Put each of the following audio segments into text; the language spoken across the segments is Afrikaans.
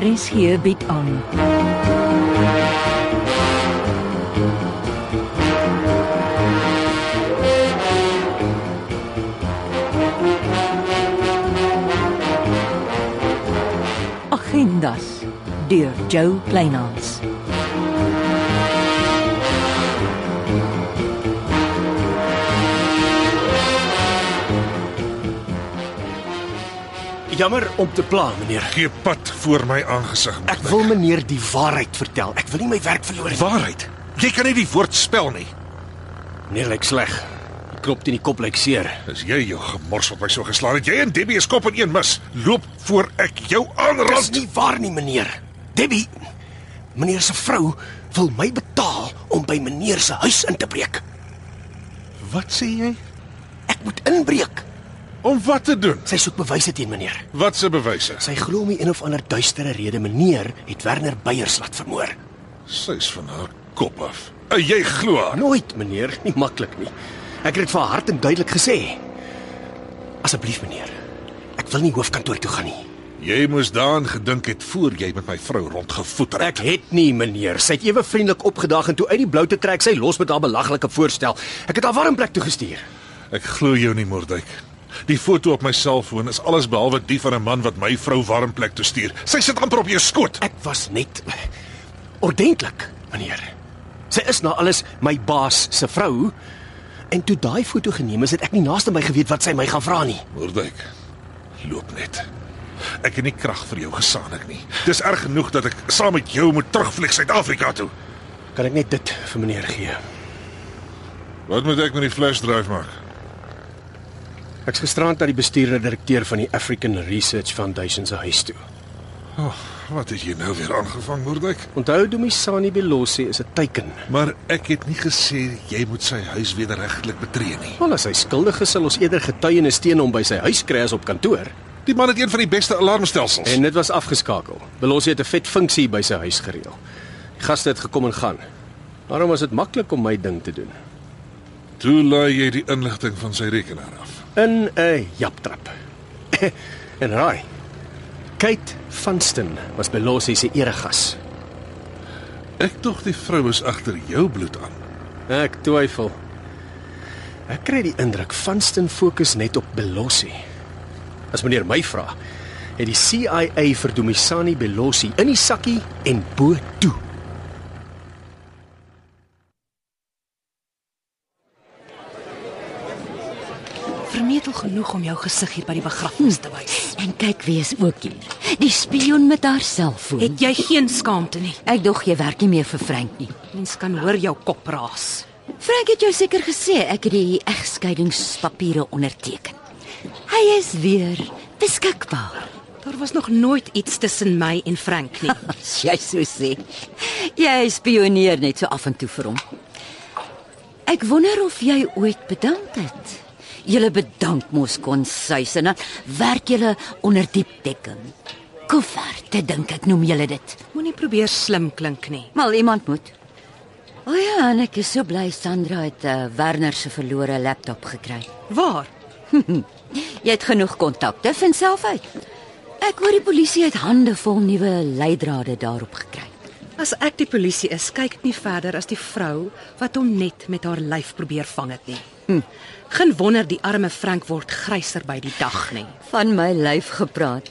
RSG bied aan. Agendas deur Jo Kleinhans. Jammer om te pla, meneer. Gee pad voor my aangesig. Ek wil meneer die waarheid vertel. Ek wil nie my werk verloor nie. waarheid. Jy kan nie die woord spel nie. Nee, lyk sleg. Die klop teen die kop lyk seer. As jy jou gemors wat my so geslaan het, jy en Debbie is kop in een mis. Loop voor ek jou Dis aanrand. nie waar nie, meneer. Debbie, meneer se vrou wil my betaal om by meneer se huis in te breek. Wat sê jy? Ek moet inbreek. Om wat te doen? Sy soek bewyse teen meneer. Wat se bewyse? Sy glo my een of ander duistere rede meneer het Werner Beyers laat vermoor. Sy's van haar kop af. En jy glo haar. Nooit, meneer, nie maklik nie. Ek het dit vir haar hard en duidelik gesê. Asseblief, meneer. Ek wil nie hoofkantoor toe gaan nie. Jy moes daaraan gedink het voor jy met my vrou rondgevoeter Ek het nie, meneer. Sy het ewe vriendelik opgedag en toe uit die blou te trek, sy los met haar belaglike voorstel. Ek het haar warm plek toe gestuur. Ek glo jou nie, Mordyk. Die foto op my selfoon is alles behalwe die van 'n man wat my vrou warm plek toe stuur. Sy sit amper op jou skoot. Ek was net ordentlik, meneer. Sy is na alles my baas se vrou. En toe daai foto geneem is, het ek nie naaste by geweet wat sy my gaan vra nie. Moordwyk. Loop net. Ek het nie krag vir jou gesaanik nie. Dis erg genoeg dat ek saam met jou moet terugvlieg Suid-Afrika toe. Kan ek net dit vir meneer gee? Wat moet ek met die flash drive maak? Ek's gisterand na die bestuurder direkteur van die African Research Foundation se huis toe. Wat het jy nou weer aangevang, Moordwyk? Onthou Domisani Belossi is 'n teiken. Maar ek het nie gesê jy moet sy huis wederregtelik betree nie. Wel as hy skuldig is, sal ons eerder getuienis teen hom by sy huis kry as op kantoor. Die man het een van die beste alarmstelsels. En dit was afgeskakel. Belossie het 'n vet funksie by sy huis gereël. Die gaste het gekom en gaan. Daarom was dit maklik om my ding te doen. toe laai jy die inligting van sy rekenaar af. In 'n japtrap. en raai. Kate Vanston was Belossie se eregas. Ek tog die vrou is agter jou bloed aan. Ek twyfel. Ek kry die indruk Vanston fokus net op Belossie. As meneer my vra, het die CIA vir Domisani Belossie in die sakkie en bo toe. Vermetel genoeg om jou gesig hier by die begrafnis te wys. En kyk wie is ook hier. Die spioen met haar selfoon. Het jy geen skaamte nie? Ek dog jy werk nie meer vir Frank nie. Mens kan hoor jou kop raas. Frank het jou seker gesê ek het die egskeidingspapiere onderteken. Hy is weer beskikbaar. Daar was nog nooit iets tussen my en Frank nie. As jy so sê. Jy spioneer net so af en toe vir hom. Ek wonder of jy ooit bedank het. Julle bedank mos kon suis en dan werk julle onder diep dekking. Koeverte dink ek noem julle dit. Moenie probeer slim klink nie. Maar iemand moet. O oh ja, en ek is so bly Sandra het uh, Werner se verlore laptop gekry. Waar? Jy het genoeg kontakte van self uit. Ek hoor die polisie het hande vol nuwe leidrade daarop gekry. As ek die polisie is, kyk ek nie verder as die vrou wat hom net met haar lyf probeer vang het nie. Hm. Geen wonder die arme Frank word gryser by die dag nie. Van my lyf gepraat.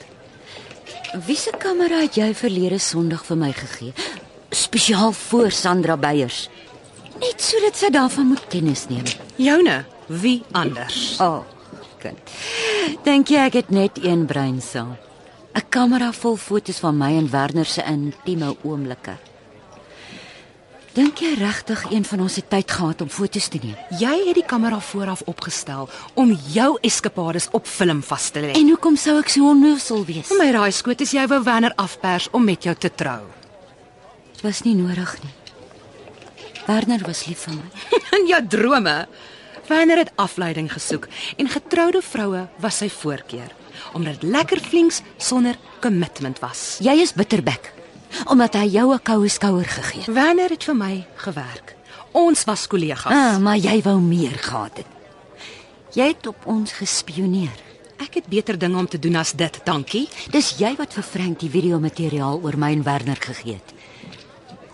Wie se kamera het jy verlede Sondag vir my gegee? Spesiaal vir Sandra Beyers. Net sodat sy daarvan moet kennis neem. Joune, wie anders? O, oh, kind. Dink jy ek het net een brein saam? 'n Kamera vol foto's van my en Werner se intieme oomblikke. Dink jy regtig een van ons het tyd gehad om foto's te neem? Jy het die kamera vooraf opgestel om jou eskapades op film vas te lê. En hoekom sou ek so onnoosel wees? Kom my raai skoot as jy wou Werner afpers om met jou te trou. Dit was nie nodig nie. Werner was lief vir my. In jou drome. Werner het afleiding gesoek en getroude vroue was sy voorkeur omdat dit lekker flinks sonder kommitment was. Jy is bitterbek omdat hy jou 'n koue skouer gegee het. Werner het vir my gewerk. Ons was kollegas. Ah, maar jy wou meer gehad het. Jy het op ons gespioneer. Ek het beter dinge om te doen as dit, dankie. Dis jy wat vir Frank die videomateriaal oor my en Werner gegee het.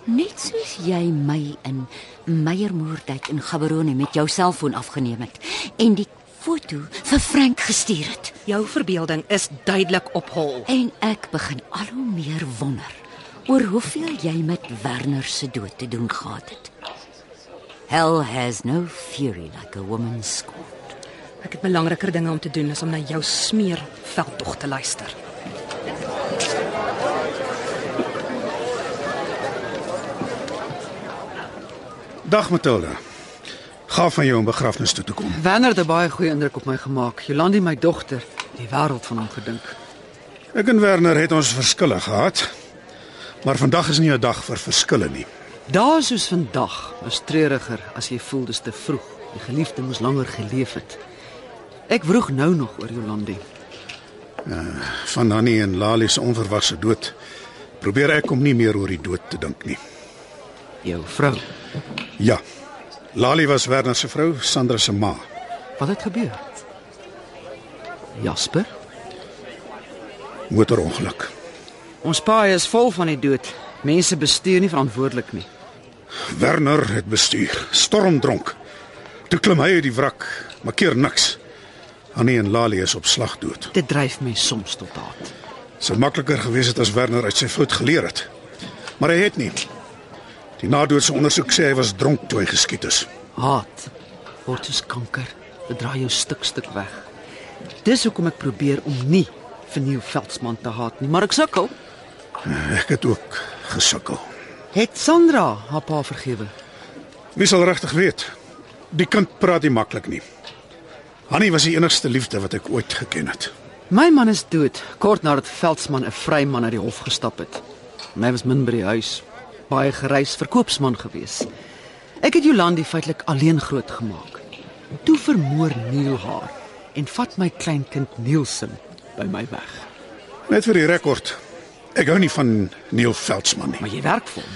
Net soos jy my in Meyermoordheid in Gaborone met jou selfoon afgeneem het en die foto vir Frank gestuur het. Jou verbeelding is duidelik op hol. En ek begin al hoe meer wonder oor hoeveel jy met Werner se dood te doen gehad het. Hell has no fury like a woman's scorned. Ek het belangriker dinge om te doen as om na jou smeer veldtog te luister. Dag Matilda. Gaaf van jou om begrafnis toe te kom. Werner het 'n baie goeie indruk op my gemaak. Jolandi my dogter, die wêreld van hom gedink. Ek en Werner het ons verskille gehad. Maar vandag is nie 'n dag vir verskille nie. Daar soos vandag is treuriger as jy voel dis te vroeg. Die geliefde moes langer geleef het. Ek vroeg nou nog oor Jolandi. Van Annie en Lali se onverwagse dood probeer ek om nie meer oor die dood te dink nie. Jou vrou. Ja. Lali was Werner se vrou, Sandra se ma. Wat het gebeur? Jasper, Motorongeluk. ons paai is vol van die dood. Mense bestuur nie verantwoordelik nie. Werner het bestuur, stormdronk. Toe klim hy uit die wrak, maar keer niks. Annie en Lali is op slag dood. Dit dryf my soms tot haat. Sou makliker gewees het as Werner uit sy fout geleer het. Maar hy het nie. Die nadoetse ondersoek sê hy was dronk toe hy geskiet is. Haat word soos kanker. Dit draai jou stuk stuk weg. Dis hoekom ek probeer om nie vir Neil Veldsmann te haat nie, maar ek sukkel. Ek het ook gesukkel. Het Sandra haar pa vergewe? Wie sal regtig weet? Die kind praat nie maklik nie. Annie was die enigste liefde wat ek ooit geken het. My man is dood kort nadat Veldsmann 'n vryman uit die hof gestap het. My was min by die huis, baie gereis verkoopsman gewees. Ek het Jolandi feitelik alleen grootgemaak. Toe vermoor Neil haar en vat my kleinkind Nielsen by my weg. Net vir die rekord. Ek hou nie van Neil Veldsmann Maar nie. jy werk vir hom.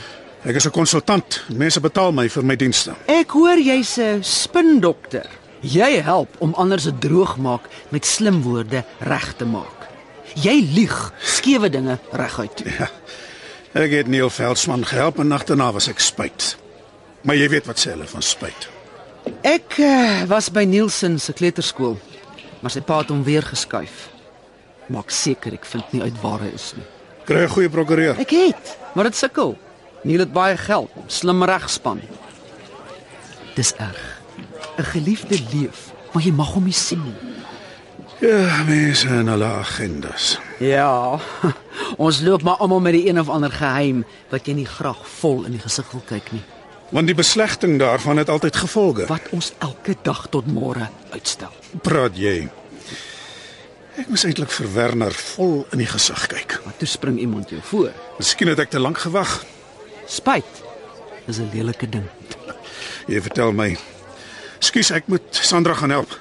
Ek is 'n konsultant. Mense betaal my vir my dienste. Ek hoor jy's 'n spindokter. Jy help om ander se droogmaak met slim woorde reg te maak. Jy lieg skewe dinge reguit. Ja. Ek het Neil Veldsmann gehelp en agterna was ek spyt. Maar jy weet wat sê hulle van spyt? Ek uh, was by Nielsen se kleuterskool, maar sy pa het hom weer geskuif. Maak seker ek vind nie uit waar hy is nie. Kry 'n goeie prokureur. Ek het, maar dit sukkel. Neil het baie geld, slim regspan. Dis erg. 'n Geliefde leef, maar jy mag hom nie sien nie. Ja, mense en hulle agendas. Ja. Ons loop maar almal met die een of ander geheim wat jy nie graag vol in die gesig wil kyk nie. Want die beslegting daarvan het altyd gevolge. Wat ons elke dag tot môre uitstel. praat jy? Ek moes eintlik vir Werner vol in die gesig kyk. Maar toe spring iemand jou voor. Miskien het ek te lank gewag. Spyt is 'n lelike ding. Jy vertel my. Skus, ek moet Sandra gaan help.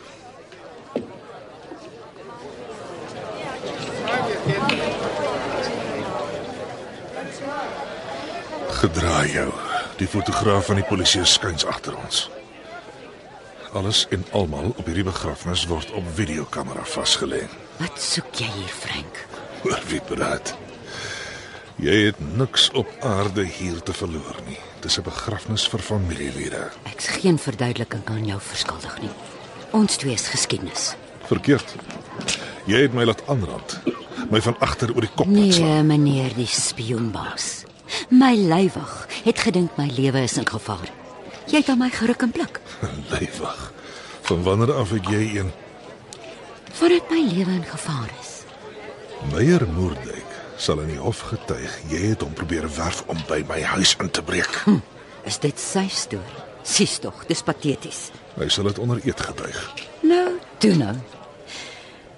Gedraai jou. Die fotograaf van die polisie is skuins agter ons. Alles en almal op hierdie begrafnis word op videokamera vasgelê. Wat soek jy hier, Frank? Oor wie praat? Jy het niks op aarde hier te verloor nie. Dis 'n begrafnis vir familielede. Ek's geen verduideliking aan jou verskuldig nie. Ons twee is geskiedenis. Verkeerd. Jy het my laat aanrand. My van agter oor die kop laat slaan. Nee, meneer die spioenbaas. My lywig het gedink my lewe is in gevaar. Jy het aan my geruk en blik. Lywig. Van wanneer af het jy een Voordat my lewe in gevaar is. Meyer Moerdijk sal in die hof getuig jy het hom probeer werf om by my huis in te breek. Is dit sy storie? Sies tog, dis pateties. Hy sal dit onder eed getuig. Nou, toe nou.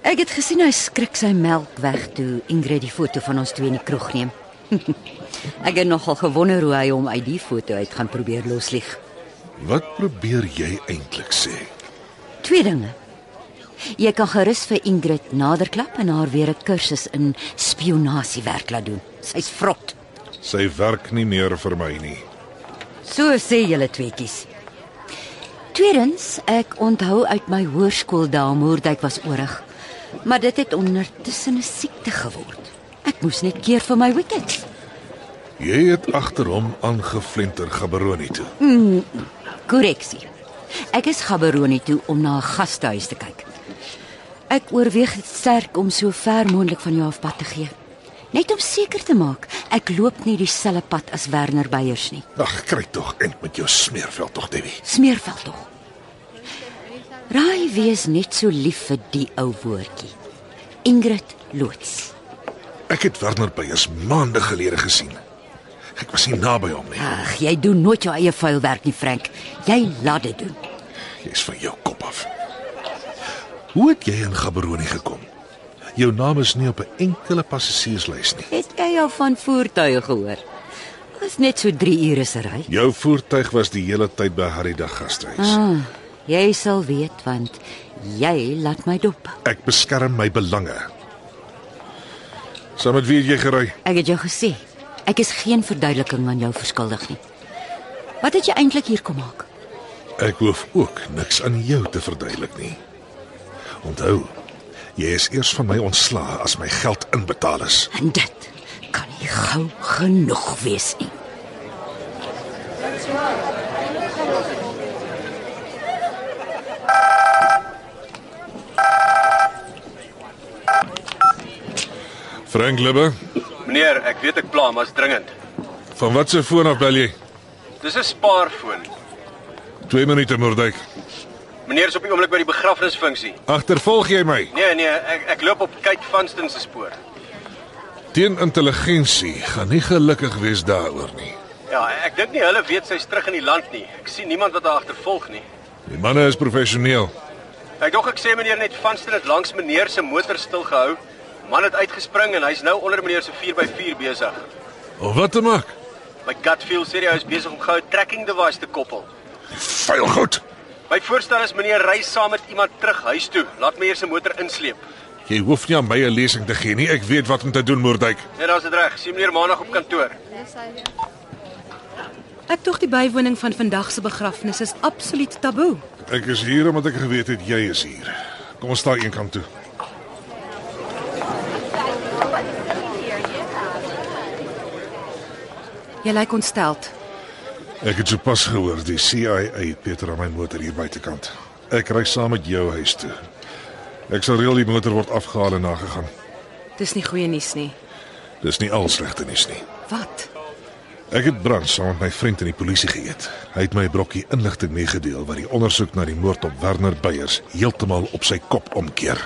Ek het gesien hy skrik sy melk weg toe Ingrid die foto van ons twee in die kroeg neem. Ek het nogal gewonder hoe hy hom uit die foto uit gaan probeer loslieg. Wat probeer jy eintlik sê? Twee dinge. Jy kan gerus vir Ingrid nader klap en haar weer 'n kursus in spionasiewerk laat doen. Sy's vrot. Sy werk nie meer vir my nie. So sê julle tweetjies. Tweedens, ek onthou uit my hoërskooldae Moerdijk was oorig. maar dit het ondertussen 'n siekte geword. Ek moes net keer vir my wickets. Jy het agter hom aangeflinter Gaberoni toe. Korreksie. Ek is Gaberoni toe om na 'n gastehuis te kyk. Ek oorweeg dit sterk om so ver moontlik van jou af pad te gee. Net om seker te maak ek loop nie dieselfde pad as Werner Beyers nie. Ag, kry tog end met jou smeerveld tog, Debbie. Smeerveld tog. Raai wees net so lief vir die ou woordjie. Ingrid Loots. Ek het Werner Beyers maande gelede gesien. Ek was nie naby hom nie. Ag, jy doen nooit jou eie vuil werk nie, Frank. Jy laat dit doen. Jy's van jou kop af. Hoe het jy in Gaberoni gekom? Jou naam is nie op 'n enkele passasierslys nie. Het jy al van voertuie gehoor? Dit is net so 3 ure se ry. Jou voertuig was die hele tyd by Harida gastehuis. Ah, jy sal weet want jy laat my dop. Ek beskerm my belange. Saam met wie het jy gery? Ek het jou gesê, ek is geen verduideliking aan jou verskuldig nie. Wat het jy eintlik hier kom maak? Ek hoef ook niks aan jou te verduidelik nie. Onthou, jy is eers van my ontslae as my geld inbetaal is. En dit kan nie gou genoeg wees nie. Frank Libbe, Meneer, ek weet ek pla, maar is dringend. van watse foon af bel jy? Dis 'n spaarfoon. 2 minute Moerdijk. Meneer is op die oomblik by die begrafnisfunksie. Agtervolg jy my? Nee nee, ek ek loop op Kate Vanston se spoor. Teen intelligensie gaan nie gelukkig wees daaroor nie. Ja, ek dink nie hulle weet sy's terug in die land nie. Ek sien niemand wat haar agtervolg nie. Die manne is professioneel. Ek dog ek sê meneer net Vanston het langs meneer se motor stil gehou. Man het uitgespring en hy's nou onder meneer se 4x4 besig. Of wat te maak? My gut feel sê hy is besig om goue tracking device te koppel. Vuil goed. My voorstel is meneer ry saam met iemand terug huis toe. Laat meneer se motor insleep. Jy hoef nie aan my 'n lesing te gee nie. Ek weet wat om te doen, Moerdijk. Net Nee, daar's dit reg. Sien meneer maandag op kantoor. Ek tog die bywoning van vandag se begrafnis is absoluut taboe. Ek is hier omdat ek geweet het jy is hier. Kom ons staan eenkant toe. Jy lyk ontsteld. Ek het sopas gehoor die CIA het Peter aan my motor hier buitekant. Ek ry saam met jou huis toe. Ek sal reël die motor word afgehaal en nagegaan. Dis nie goeie nuus nie. Dis nie al slegte nuus nie. Wat? Ek het brand saam met my vriend in die polisie geëet. Hy het my 'n brokkie inligting meegedeel wat die ondersoek na die moord op Werner Beyers heeltemal op sy kop omkeer.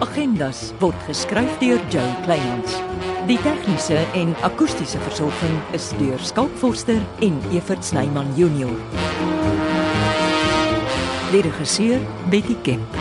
Agendas word geskryf deur Joe Kleinhans. Die tegniese en akoestiese versorging is deur Skalk Forster en Evert Snyman Junior. Lede regisseur Betty Kemp.